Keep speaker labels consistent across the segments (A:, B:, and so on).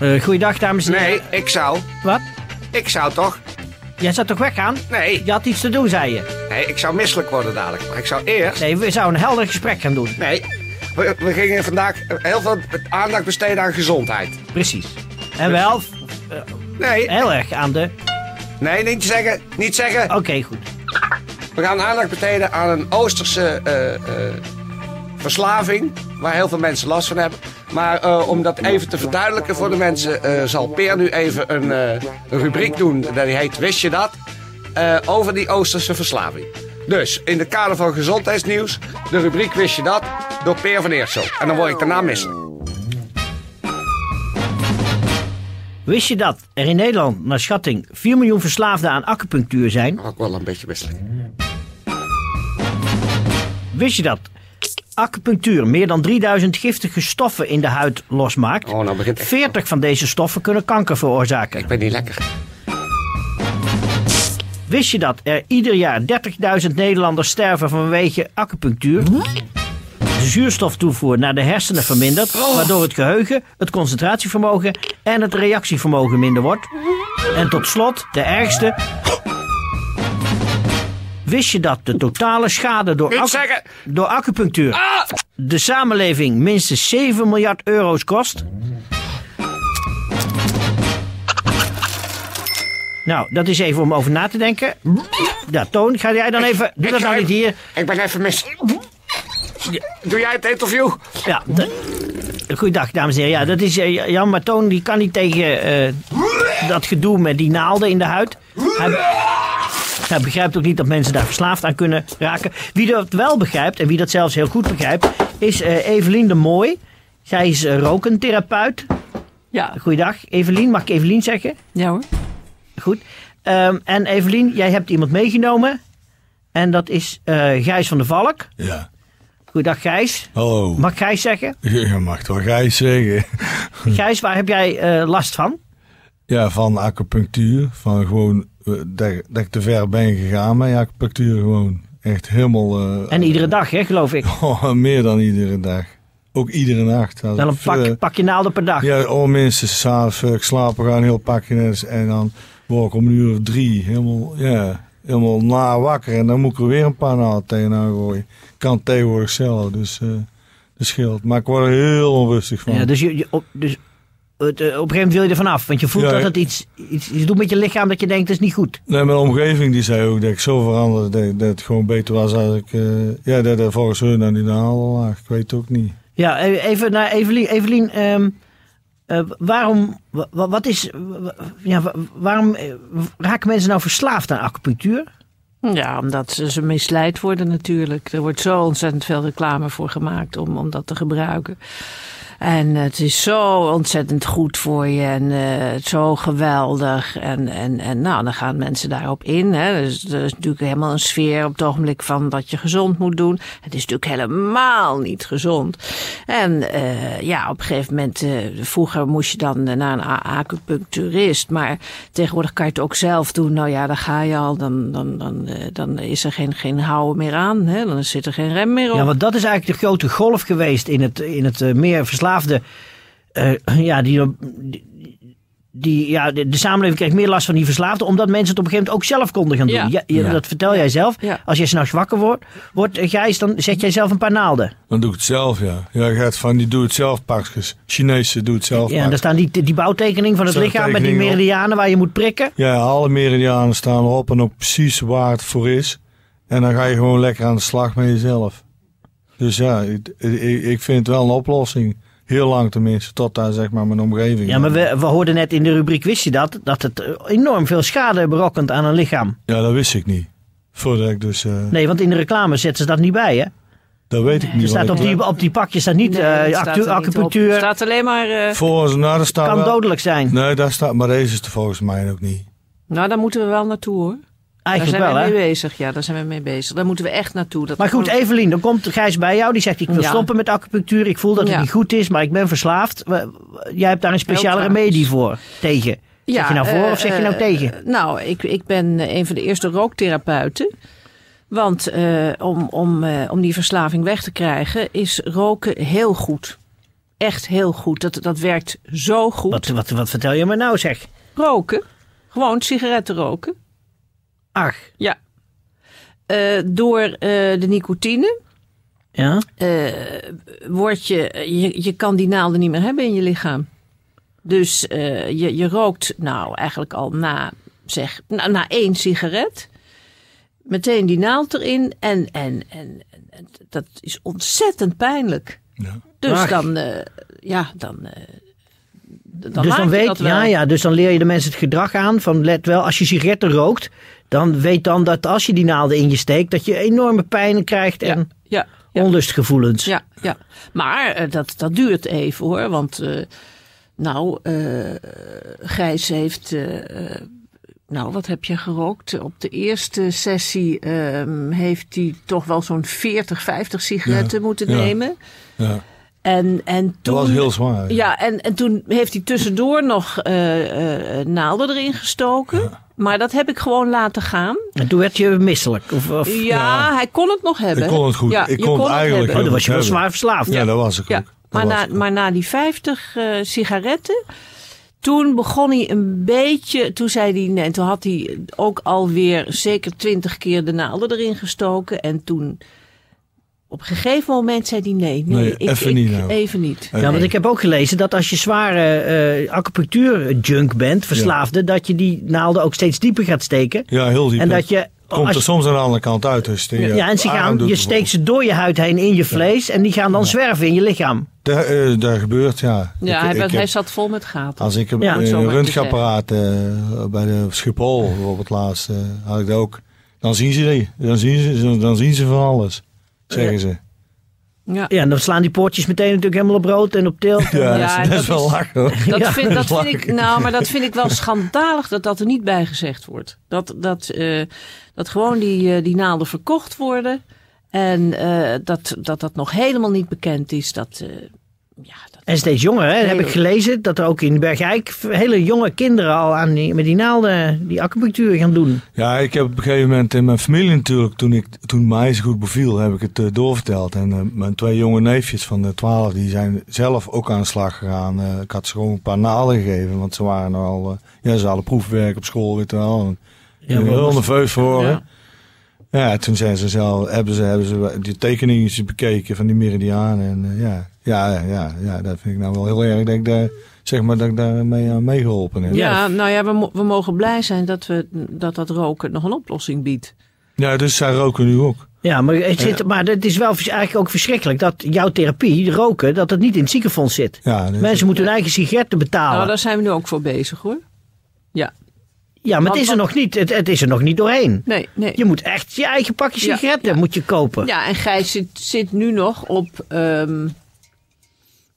A: Eh goeiedag, dames en heren.
B: Nee, ik zou.
A: Wat?
B: Ik zou toch?
A: Jij zou toch weggaan?
B: Nee.
A: Je had iets te doen, zei je.
B: Nee, ik zou misselijk worden dadelijk. Maar ik zou eerst...
A: Nee, we zouden een helder gesprek gaan doen.
B: Nee, we, we gingen vandaag heel veel aandacht besteden aan gezondheid.
A: Precies. En
B: Dus-
A: wel
B: Nee,
A: heel erg aan de...
B: nee, niet zeggen, niet zeggen.
A: Oké, goed.
B: We gaan aandacht besteden aan een Oosterse eh, eh, verslaving, waar heel veel mensen last van hebben. Maar eh, om dat even te verduidelijken voor de mensen, eh, zal Peer nu even een, eh, een rubriek doen. Dat die heet Wist je dat? Eh, over die Oosterse verslaving. Dus, in het kader van gezondheidsnieuws, de rubriek Wist je dat? Door Peer van Eersel. En dan word ik daarna misselijk.
A: Wist je dat er in Nederland, naar schatting, 4 miljoen verslaafden aan acupunctuur zijn?
B: Ook wel een beetje misselijk.
A: Wist je dat acupunctuur meer dan 3000 giftige stoffen in de huid losmaakt?
B: Oh, nou begint echt-
A: 40 van deze stoffen kunnen kanker veroorzaken.
B: Ik ben niet lekker.
A: Wist je dat er ieder jaar 30.000 Nederlanders sterven vanwege acupunctuur?
B: Hm?
A: De zuurstoftoevoer naar de hersenen vermindert,
B: Oh.
A: waardoor het geheugen, het concentratievermogen en het reactievermogen minder wordt.
B: Hm?
A: En tot slot, de ergste. Wist je dat de totale schade door,
B: Niet
A: acu-
B: zeggen! Ah!
A: door acupunctuur de samenleving minstens 7 miljard euro's kost? Nou, dat is even om over na te denken. Ja, Toon, ga jij dan even... Doe dat
B: Hm? Ik ga
A: nou niet
B: even-
A: hier.
B: Ik ben even misselijk. Doe jij het interview?
A: Ja, de- Goeiedag, dames en heren. Ja, dat is eh, Jan, maar Toon die kan niet tegen eh, dat gedoe met die naalden in de huid. Hij, hij begrijpt ook niet dat mensen daar verslaafd aan kunnen raken. Wie dat wel begrijpt, en wie dat zelfs heel goed begrijpt, is eh, Evelien de Mooi. Zij is eh, rokentherapeut.
C: Ja,
A: Goeiedag, Evelien. Mag ik Evelien zeggen?
C: ja hoor.
A: Goed. Ehm, en Evelien, jij hebt iemand meegenomen. En dat is eh, Gijs van de Valk.
D: Ja.
A: Goeiedag, Gijs.
D: Hallo.
A: Mag ik Gijs zeggen?
D: Je mag toch Gijs zeggen.
A: Gijs, waar heb jij eh, last van?
D: Ja, van acupunctuur. Van gewoon eh, dat, dat ik te ver ben gegaan met acupunctuur. Gewoon echt helemaal... eh,
A: En iedere dag, hè, geloof ik.
D: oh, meer dan iedere dag. Ook iedere nacht. Als
A: Wel een
D: ik, eh,
A: pak, pakje naalden per dag.
D: Ja, al minstens s'avonds. eh, Ik slaap er een heel pakje nes en dan word ik om een uur of drie helemaal, ja, helemaal na wakker. En dan moet ik er weer een paar naald tegenaan gooien. Ik kan het tegenwoordig zelf, dus eh dat scheelt. Maar ik word er heel onrustig van.
A: Ja, dus je, je- op, dus het, eh, op een gegeven moment wil je er vanaf. Want je voelt
D: Ja,
A: dat
D: ja.
A: het iets, iets, iets doet met je lichaam dat je denkt, dat is niet goed.
D: Nee, mijn omgeving die zei ook dat ik zo veranderd dat, dat het gewoon beter was als ik... eh, ja, dat er volgens hun aan die naalden lag. Ik weet het ook niet.
A: Ja, e- even naar Evelien. Evelien, ehm, eh, waarom, wa- wa- wat is, wa- ja, wa- waarom eh, raken mensen nou verslaafd aan acupunctuur?
C: Ja, omdat ze, ze misleid worden natuurlijk. Er wordt zo ontzettend veel reclame voor gemaakt om, om dat te gebruiken. En het is zo ontzettend goed voor je en eh, het is zo geweldig. En, en, en nou, dan gaan mensen daarop in. Hè. Dus er is natuurlijk helemaal een sfeer op het ogenblik van dat je gezond moet doen. Het is natuurlijk helemaal niet gezond. En eh, ja, op een gegeven moment, eh, vroeger moest je dan eh, naar een a- acupuncturist. Maar tegenwoordig kan je het ook zelf doen. Nou ja, daar ga je al. Dan, dan, dan, eh, dan is er geen, geen houden meer aan. Hè. Dan zit er geen rem meer op.
A: Ja, want dat is eigenlijk de grote golf geweest in het, in het eh, meer verslaafde. eh, ja, die, die- die, ja, de, de samenleving kreeg meer last van die verslaafden, omdat mensen het op een gegeven moment ook zelf konden gaan doen.
C: Ja.
A: Ja, je- Dat vertel jij zelf.
C: Ja.
A: Als jij s'nachts wakker wordt, wordt, eh, Gijs, dan zet jij zelf een paar naalden.
D: Dan doe ik het zelf, ja. Ja, je gaat van die doe-het-zelf pakjes. dus Chinese doe-het-zelf
A: Ja, en daar staan die, die bouwtekening van het
D: Zo'n
A: lichaam met die
D: tekening, hoor.
A: meridianen waar je moet prikken.
D: Ja, alle meridianen staan erop en ook precies waar het voor is. En dan ga je gewoon lekker aan de slag met jezelf. Dus ja, ik, ik, ik vind het wel een oplossing. Heel lang tenminste, tot daar zeg maar mijn omgeving.
A: Ja, maar we, we hoorden net in de rubriek, wist je dat? Dat het eh, enorm veel schade berokkent aan een lichaam.
D: Ja, dat wist ik niet. Voordat ik dus... eh,
A: Nee, want in de reclame zetten ze dat niet bij, hè?
D: Dat weet ik
A: Er
D: niet.
A: staat
D: wat
A: op,
D: ik-
A: die, op die pakjes staat niet
C: Nee,
A: eh,
C: dat staat er
A: actu-
C: niet op.
A: acupunctuur.
C: Er staat alleen maar... eh,
D: Volgens nou, daar staat
A: kan
D: wel-
A: dodelijk zijn.
D: Nee, daar staat, maar deze is er volgens mij ook niet.
C: nou, daar moeten we wel naartoe hoor.
A: Eigenlijk
C: daar
A: wel,
C: zijn we
A: hè?
C: mee bezig. Ja, daar zijn we mee bezig. Daar moeten we echt naartoe. Dat
A: Maar goed, eh,
C: gewoon-
A: Evelien, dan komt Gijs bij jou. Die zegt, ik wil
C: Ja.
A: stoppen met acupunctuur. Ik voel dat het
C: Ja.
A: niet goed is, maar ik ben verslaafd. W- w- Jij hebt daar een speciale
C: tragisch.
A: remedie voor. Tegen. Zeg je nou voor
C: eh,
A: of zeg je nou
C: eh,
A: tegen?
C: Nou, ik, ik ben eh, een van de eerste rooktherapeuten. Want eh, om, om, eh, om die verslaving weg te krijgen is roken heel goed. Echt heel goed. Dat, dat werkt zo goed.
A: Wat, wat, wat vertel je me nou, zeg?
C: Roken, gewoon sigaretten roken.
A: Ach,
C: Ja. door eh, de nicotine
A: ja?
C: eh, word je, je, je kan die naalden niet meer hebben in je lichaam. Dus eh, je, je rookt nou eigenlijk al na, zeg, na, na één sigaret. Meteen die naald erin en, en, en, en dat is ontzettend pijnlijk.
D: Ja.
C: Dus
A: Ach.
C: dan, eh, ja, dan, eh, dan
A: dus
C: laat
A: dan
C: je
A: weet,
C: dat wel.
A: ja, ja, dus dan leer je de mensen het gedrag aan van let wel, als je sigaretten rookt, dan weet dan dat als je die naalden in je steekt, dat je enorme pijnen krijgt
C: Ja,
A: en
C: ja, ja.
A: onlustgevoelens.
C: Ja, ja. maar eh, dat, dat duurt even hoor. Want eh, nou, eh, Gijs heeft, eh, eh, nou wat heb je gerookt? Op de eerste sessie ehm, heeft hij toch wel zo'n 40, 50 sigaretten
D: Ja,
C: moeten
D: ja.
C: nemen.
D: Ja.
C: En, en
D: Dat
C: toen,
D: was heel zwaar.
C: ja, en, en toen heeft hij tussendoor nog eh, eh, naalden erin gestoken. Maar dat heb ik gewoon laten gaan.
A: En toen werd je misselijk. Of, of,
C: Ja,
A: oh,
C: hij kon het nog hebben.
D: Ik kon het goed.
C: Ja,
D: Ik
C: je
D: kon het
C: het
D: eigenlijk
C: hebben.
D: heel
A: dan was je wel
D: Hebben.
A: zwaar verslaafd.
D: Ja, dat was ik
C: Ja,
D: ook. Dat
C: maar
D: was
C: na,
D: ik ook.
C: maar na die 50 eh, sigaretten, toen begon hij een beetje. Toen zei hij, nee, toen had hij ook alweer zeker 20 keer de naalden erin gestoken. En toen, op een gegeven moment, zei hij: nee, nee,
D: Nee,
C: ik,
D: even
C: ik-
D: niet nou.
C: even niet.
A: Ja, want ik heb ook gelezen dat als je zware eh acupunctuur-junk bent, verslaafde, dat je die naalden ook steeds dieper gaat steken.
D: Ja, heel diep.
A: En dat je.
D: Komt
A: als
D: er
A: je-
D: soms aan de andere kant uit. Dus die, eh,
A: ja, en ze
D: arm
A: gaan,
D: doet
A: je
D: bijvoorbeeld.
A: steekt ze door je huid heen in je vlees en die gaan dan zwerven in je lichaam.
D: Daar, eh, daar gebeurt, ja.
C: Ja,
D: Ik-
C: hij,
D: ik
C: werd-
D: heb-
C: hij zat vol met gaten.
D: Als ik een
A: Ja,
D: ja,
C: zo maar
D: röntgenapparaat eh, bij de Schiphol bijvoorbeeld laatst eh, had ik dat ook. Dan zien ze die. Dan zien ze, dan zien ze van alles. Zeggen ze.
C: Ja.
A: Ja, en dan slaan die poortjes meteen natuurlijk helemaal op rood en op tilt.
D: Ja,
C: Ja,
D: dat, is, dat
C: dat
D: is wel
C: is-
D: lachen hoor.
C: Dat,
A: Ja,
C: vind, dat,
D: dat
C: vind ik,
D: lag-
C: nou, maar dat vind ik wel schandalig dat dat er niet bij gezegd wordt. Dat, dat, eh, dat gewoon die, eh, die naalden verkocht worden. En eh, dat, dat dat nog helemaal niet bekend is. Dat, eh, ja, dat,
A: En steeds jonger, hè? heb ik gelezen dat er ook in Bergijk hele jonge kinderen al aan die, met die naalden die acupunctuur gaan doen.
D: Ja, ik heb op een gegeven moment in mijn familie natuurlijk, toen, ik, toen mij zo goed beviel, heb ik het eh, doorverteld. En eh, mijn twee jonge neefjes van de twaalf, die zijn zelf ook aan de slag gegaan. Eh, ik had ze gewoon een paar naalden gegeven, want ze waren al, eh, ja, ze hadden proefwerk op school, weet je wel. En
A: Ja,
D: ik ben
A: maar-
D: heel nerveus voor
C: Ja.
D: horen. Ja. toen zijn ze zelf, hebben ze, hebben ze die tekeningen bekeken van die meridianen. En eh, ja, ja, ja, ja, ja, dat vind ik nou wel heel erg, dat ik daar, zeg maar, dat ik daarmee aan meegeholpen heb.
C: ja, nou ja, we, mo- we mogen blij zijn dat, we, dat dat roken nog een oplossing biedt.
D: Ja, dus zij roken nu ook.
A: Ja, maar het, zit, maar het is wel vers- eigenlijk ook verschrikkelijk dat jouw therapie, roken, dat het niet in het ziekenfonds zit.
D: Ja, dus-
A: Mensen moeten hun eigen sigaretten betalen.
C: Nou, daar zijn we nu ook voor bezig hoor. Ja,
A: ja, maar het
C: want-
A: is er nog niet. Het, het is er nog niet doorheen.
C: nee, nee.
A: Je moet echt je eigen pakje
C: Ja,
A: sigaretten moet je kopen.
C: Ja, en Gijs zit, zit nu nog op. ehm,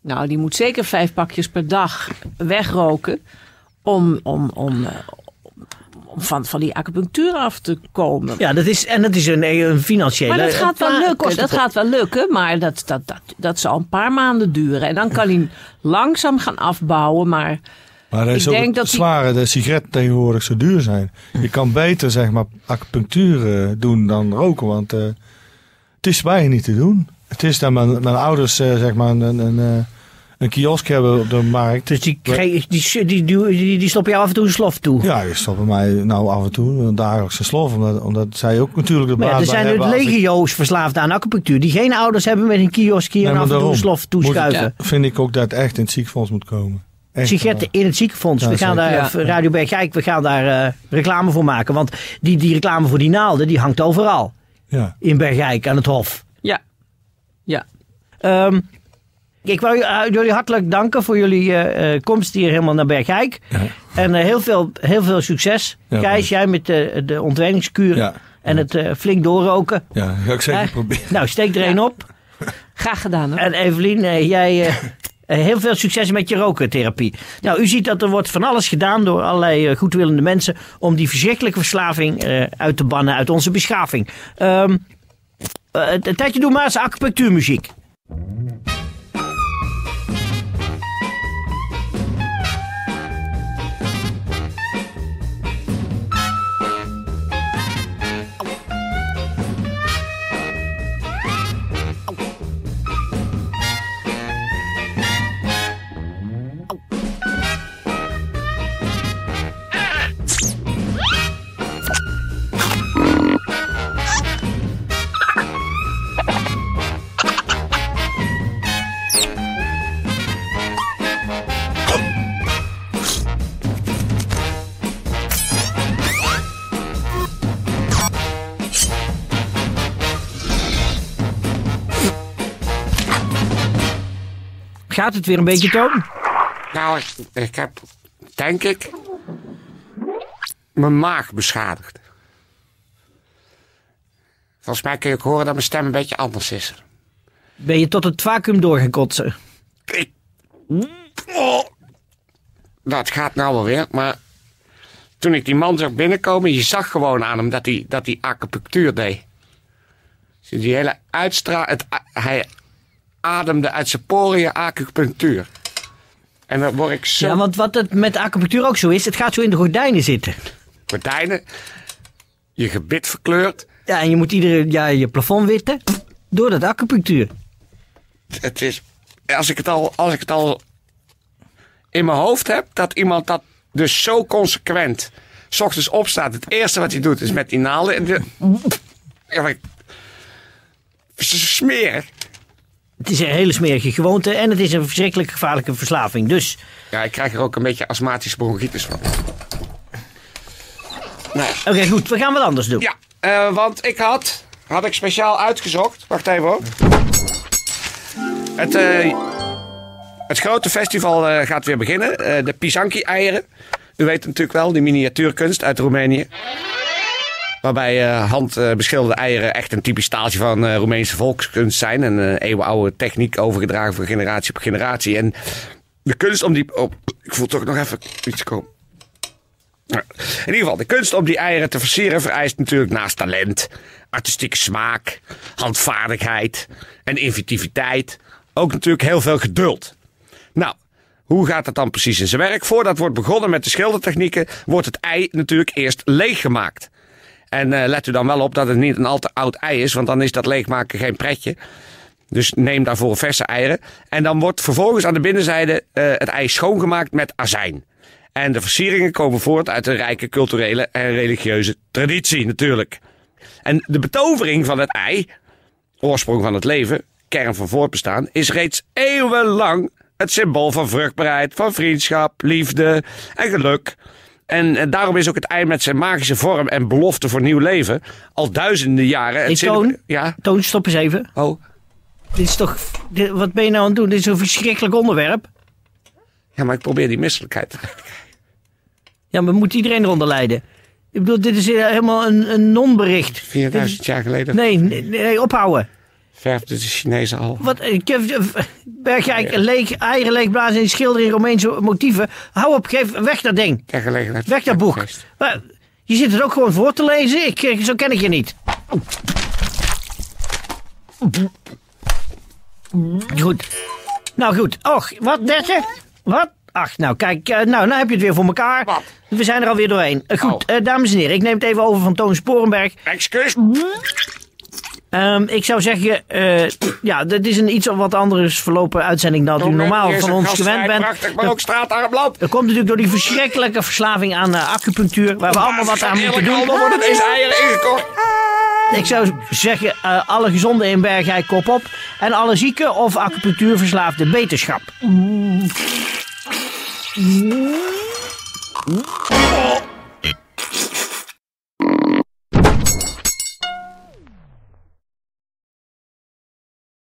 C: nou, die moet zeker vijf pakjes per dag wegroken. Om, om, om, eh, om van, van die acupunctuur af te komen.
A: Ja, dat is, en dat is een, eh, een financiële.
C: maar dat gaat
A: eh,
C: wel
A: pla-
C: lukken.
A: kosten-
C: Dat gaat wel lukken. Maar dat, dat, dat, dat zal een paar maanden duren. En dan kan hij langzaam gaan afbouwen. Maar
D: Maar dat
C: Ik
D: is ook
C: denk
D: het
C: dat die-
D: zware dat sigaretten tegenwoordig zo duur zijn.
A: Hm.
D: Je kan beter zeg maar acupunctuur eh, doen dan roken, want eh, het is bij je niet te doen. Het is dat mijn, mijn ouders eh, zeg maar een, een, een, eh, een kiosk hebben op de markt.
A: Dus die, kre- die, die, die, die, die stoppen jou af en toe een slof toe.
D: Ja, die stoppen mij nou af en toe een dagelijkse slof, omdat, omdat zij ook natuurlijk de
A: Maar
D: baas
A: ja, er
D: bij
A: zijn
D: hebben
A: het
D: als ik-
A: legio's verslaafd aan acupunctuur. Die geen ouders hebben met een kioskje
D: Nee,
A: en
D: maar
A: af en toe een
D: daarom
A: slof
D: moet het-
A: toeschuiven.
D: Vind ik ook dat het echt in het ziekenfonds moet komen. Echt,
A: Sigaretten in het ziekenfonds.
D: Ja,
A: we gaan daar,
D: zeker.
A: of Radio Bergijk, we gaan daar eh, reclame voor maken. Want die, die reclame voor die naalden, die hangt overal.
D: eh, ja.
A: In Bergijk, aan het Hof.
C: ja, ja.
A: Ehm, ik wil jullie hartelijk danken voor jullie eh, eh, komst hier helemaal naar Bergijk. En eh, heel, veel, heel veel succes.
D: Ja,
A: Gijs,
D: bedankt.
A: jij met de, de ontwenningskuur
D: Ja.
A: en het eh, flink doorroken.
D: Ja, ga ik zeker
A: Eh,
D: proberen.
A: nou, steek er één op.
C: Graag gedaan hoor.
A: En Evelien, eh, jij eh, eh, heel veel succes met je rokentherapie. Nou, u ziet dat er wordt van alles gedaan door allerlei eh, goedwillende mensen om die verschrikkelijke verslaving eh, uit te bannen uit onze beschaving. Ehm eh, een tijdje doe maar eens acupunctuurmuziek. Gaat het weer een beetje, Toon?
B: Nou, ik, ik heb, denk ik, mijn maag beschadigd. Volgens mij kun je ook horen dat mijn stem een beetje anders is.
A: Ben je tot het vacuüm doorgekotsen?
B: Ik... Oh. Nou, het gaat nou wel weer, maar toen ik die man zag binnenkomen, je zag gewoon aan hem dat hij, dat hij acupunctuur deed. Dus die hele uitstra... Het, a- hij ademde uit zijn poriën acupunctuur. En dan word ik zo...
A: Ja, want wat het met acupunctuur ook zo is, het gaat zo in de gordijnen zitten.
B: gordijnen, je gebit verkleurt.
A: Ja, en je moet iedere ja, je plafond witten door dat acupunctuur.
B: Het is, als ik het al, als ik het al in mijn hoofd heb, dat iemand dat dus zo consequent, s ochtends opstaat, het eerste wat hij doet is met die naalden en de, ja, maar ik- ze smeren.
A: Het is een hele smerige gewoonte en het is een verschrikkelijk gevaarlijke verslaving. Dus
B: Ja, ik krijg er ook een beetje astmatische bronchitis van. Nou,
A: Oké, goed. We gaan wat anders doen.
B: Ja, eh, want ik had, had ik speciaal uitgezocht. Wacht even hoor. Het, eh, het grote festival eh, gaat weer beginnen. Eh, de Pisanki-eieren. U weet natuurlijk wel, die miniatuurkunst uit Roemenië. Waarbij eh, handbeschilderde eieren echt een typisch staaltje van eh, Roemeense volkskunst zijn. En eh, eeuwenoude techniek overgedragen van generatie op generatie. En de kunst om die... Oh, ik voel toch nog even iets komen. Ja. In ieder geval, de kunst om die eieren te versieren vereist natuurlijk naast talent, artistieke smaak, handvaardigheid en inventiviteit ook natuurlijk heel veel geduld. Nou, hoe gaat dat dan precies in zijn werk? Voordat wordt begonnen met de schildertechnieken, wordt het ei natuurlijk eerst leeggemaakt. En eh, let u dan wel op dat het niet een al te oud ei is, want dan is dat leegmaken geen pretje. Dus neem daarvoor verse eieren. En dan wordt vervolgens aan de binnenzijde eh, het ei schoongemaakt met azijn. En de versieringen komen voort uit een rijke culturele en religieuze traditie natuurlijk. En de betovering van het ei, oorsprong van het leven, kern van voortbestaan, is reeds eeuwenlang het symbool van vruchtbaarheid, van vriendschap, liefde en geluk. En eh, daarom is ook het ei met zijn magische vorm en belofte voor nieuw leven al duizenden jaren.
A: Hey,
B: het zin-
A: Toon.
B: Ja.
A: Toon, stop eens even.
B: Oh.
A: Dit is toch... dit- wat ben je nou aan het doen? Dit is een verschrikkelijk onderwerp.
B: Ja, maar ik probeer die misselijkheid.
A: Ja, maar moet iedereen eronder lijden? Ik bedoel, dit is eh, helemaal een, een non-bericht.
B: 4000 jaar geleden
A: Nee, nee, nee, ophouden.
B: verfden de Chinezen al.
A: Wat, eh, ik heb- eh, Bergijk, leeg, eieren leegblazen in schilderen in Romeinse motieven. Hou op, geef weg dat ding.
B: Ter gelegenheid.
A: Weg dat boek. Maar je zit het ook gewoon voor te lezen. Ik, eh, zo ken ik je niet. Goed. Nou goed. Och, wat dertig? Wat? Ach, nou kijk, eh, nou, nou heb je het weer voor elkaar.
B: Wat?
A: We zijn er alweer doorheen. Eh, goed,
B: Oh.
A: eh, dames en heren, ik neem het even over van Toon Sporenberg.
B: Excuus.
A: Ehm, ik zou zeggen, eh, ja, dit is een iets wat anders verlopen uitzending dan u normaal
B: Hier is
A: van
B: een
A: ons
B: gastvrij,
A: gewend bent.
B: Prachtig, maar ook straatarm land.
A: Dat komt natuurlijk door die verschrikkelijke verslaving aan eh, acupunctuur, waar we allemaal wat aan moeten doen. Oh,
B: Allemaal worden deze eieren ingekocht.
A: Ik zou zeggen, eh, alle gezonden in Bergijk kop op. En alle zieken of acupunctuurverslaafde beterschap.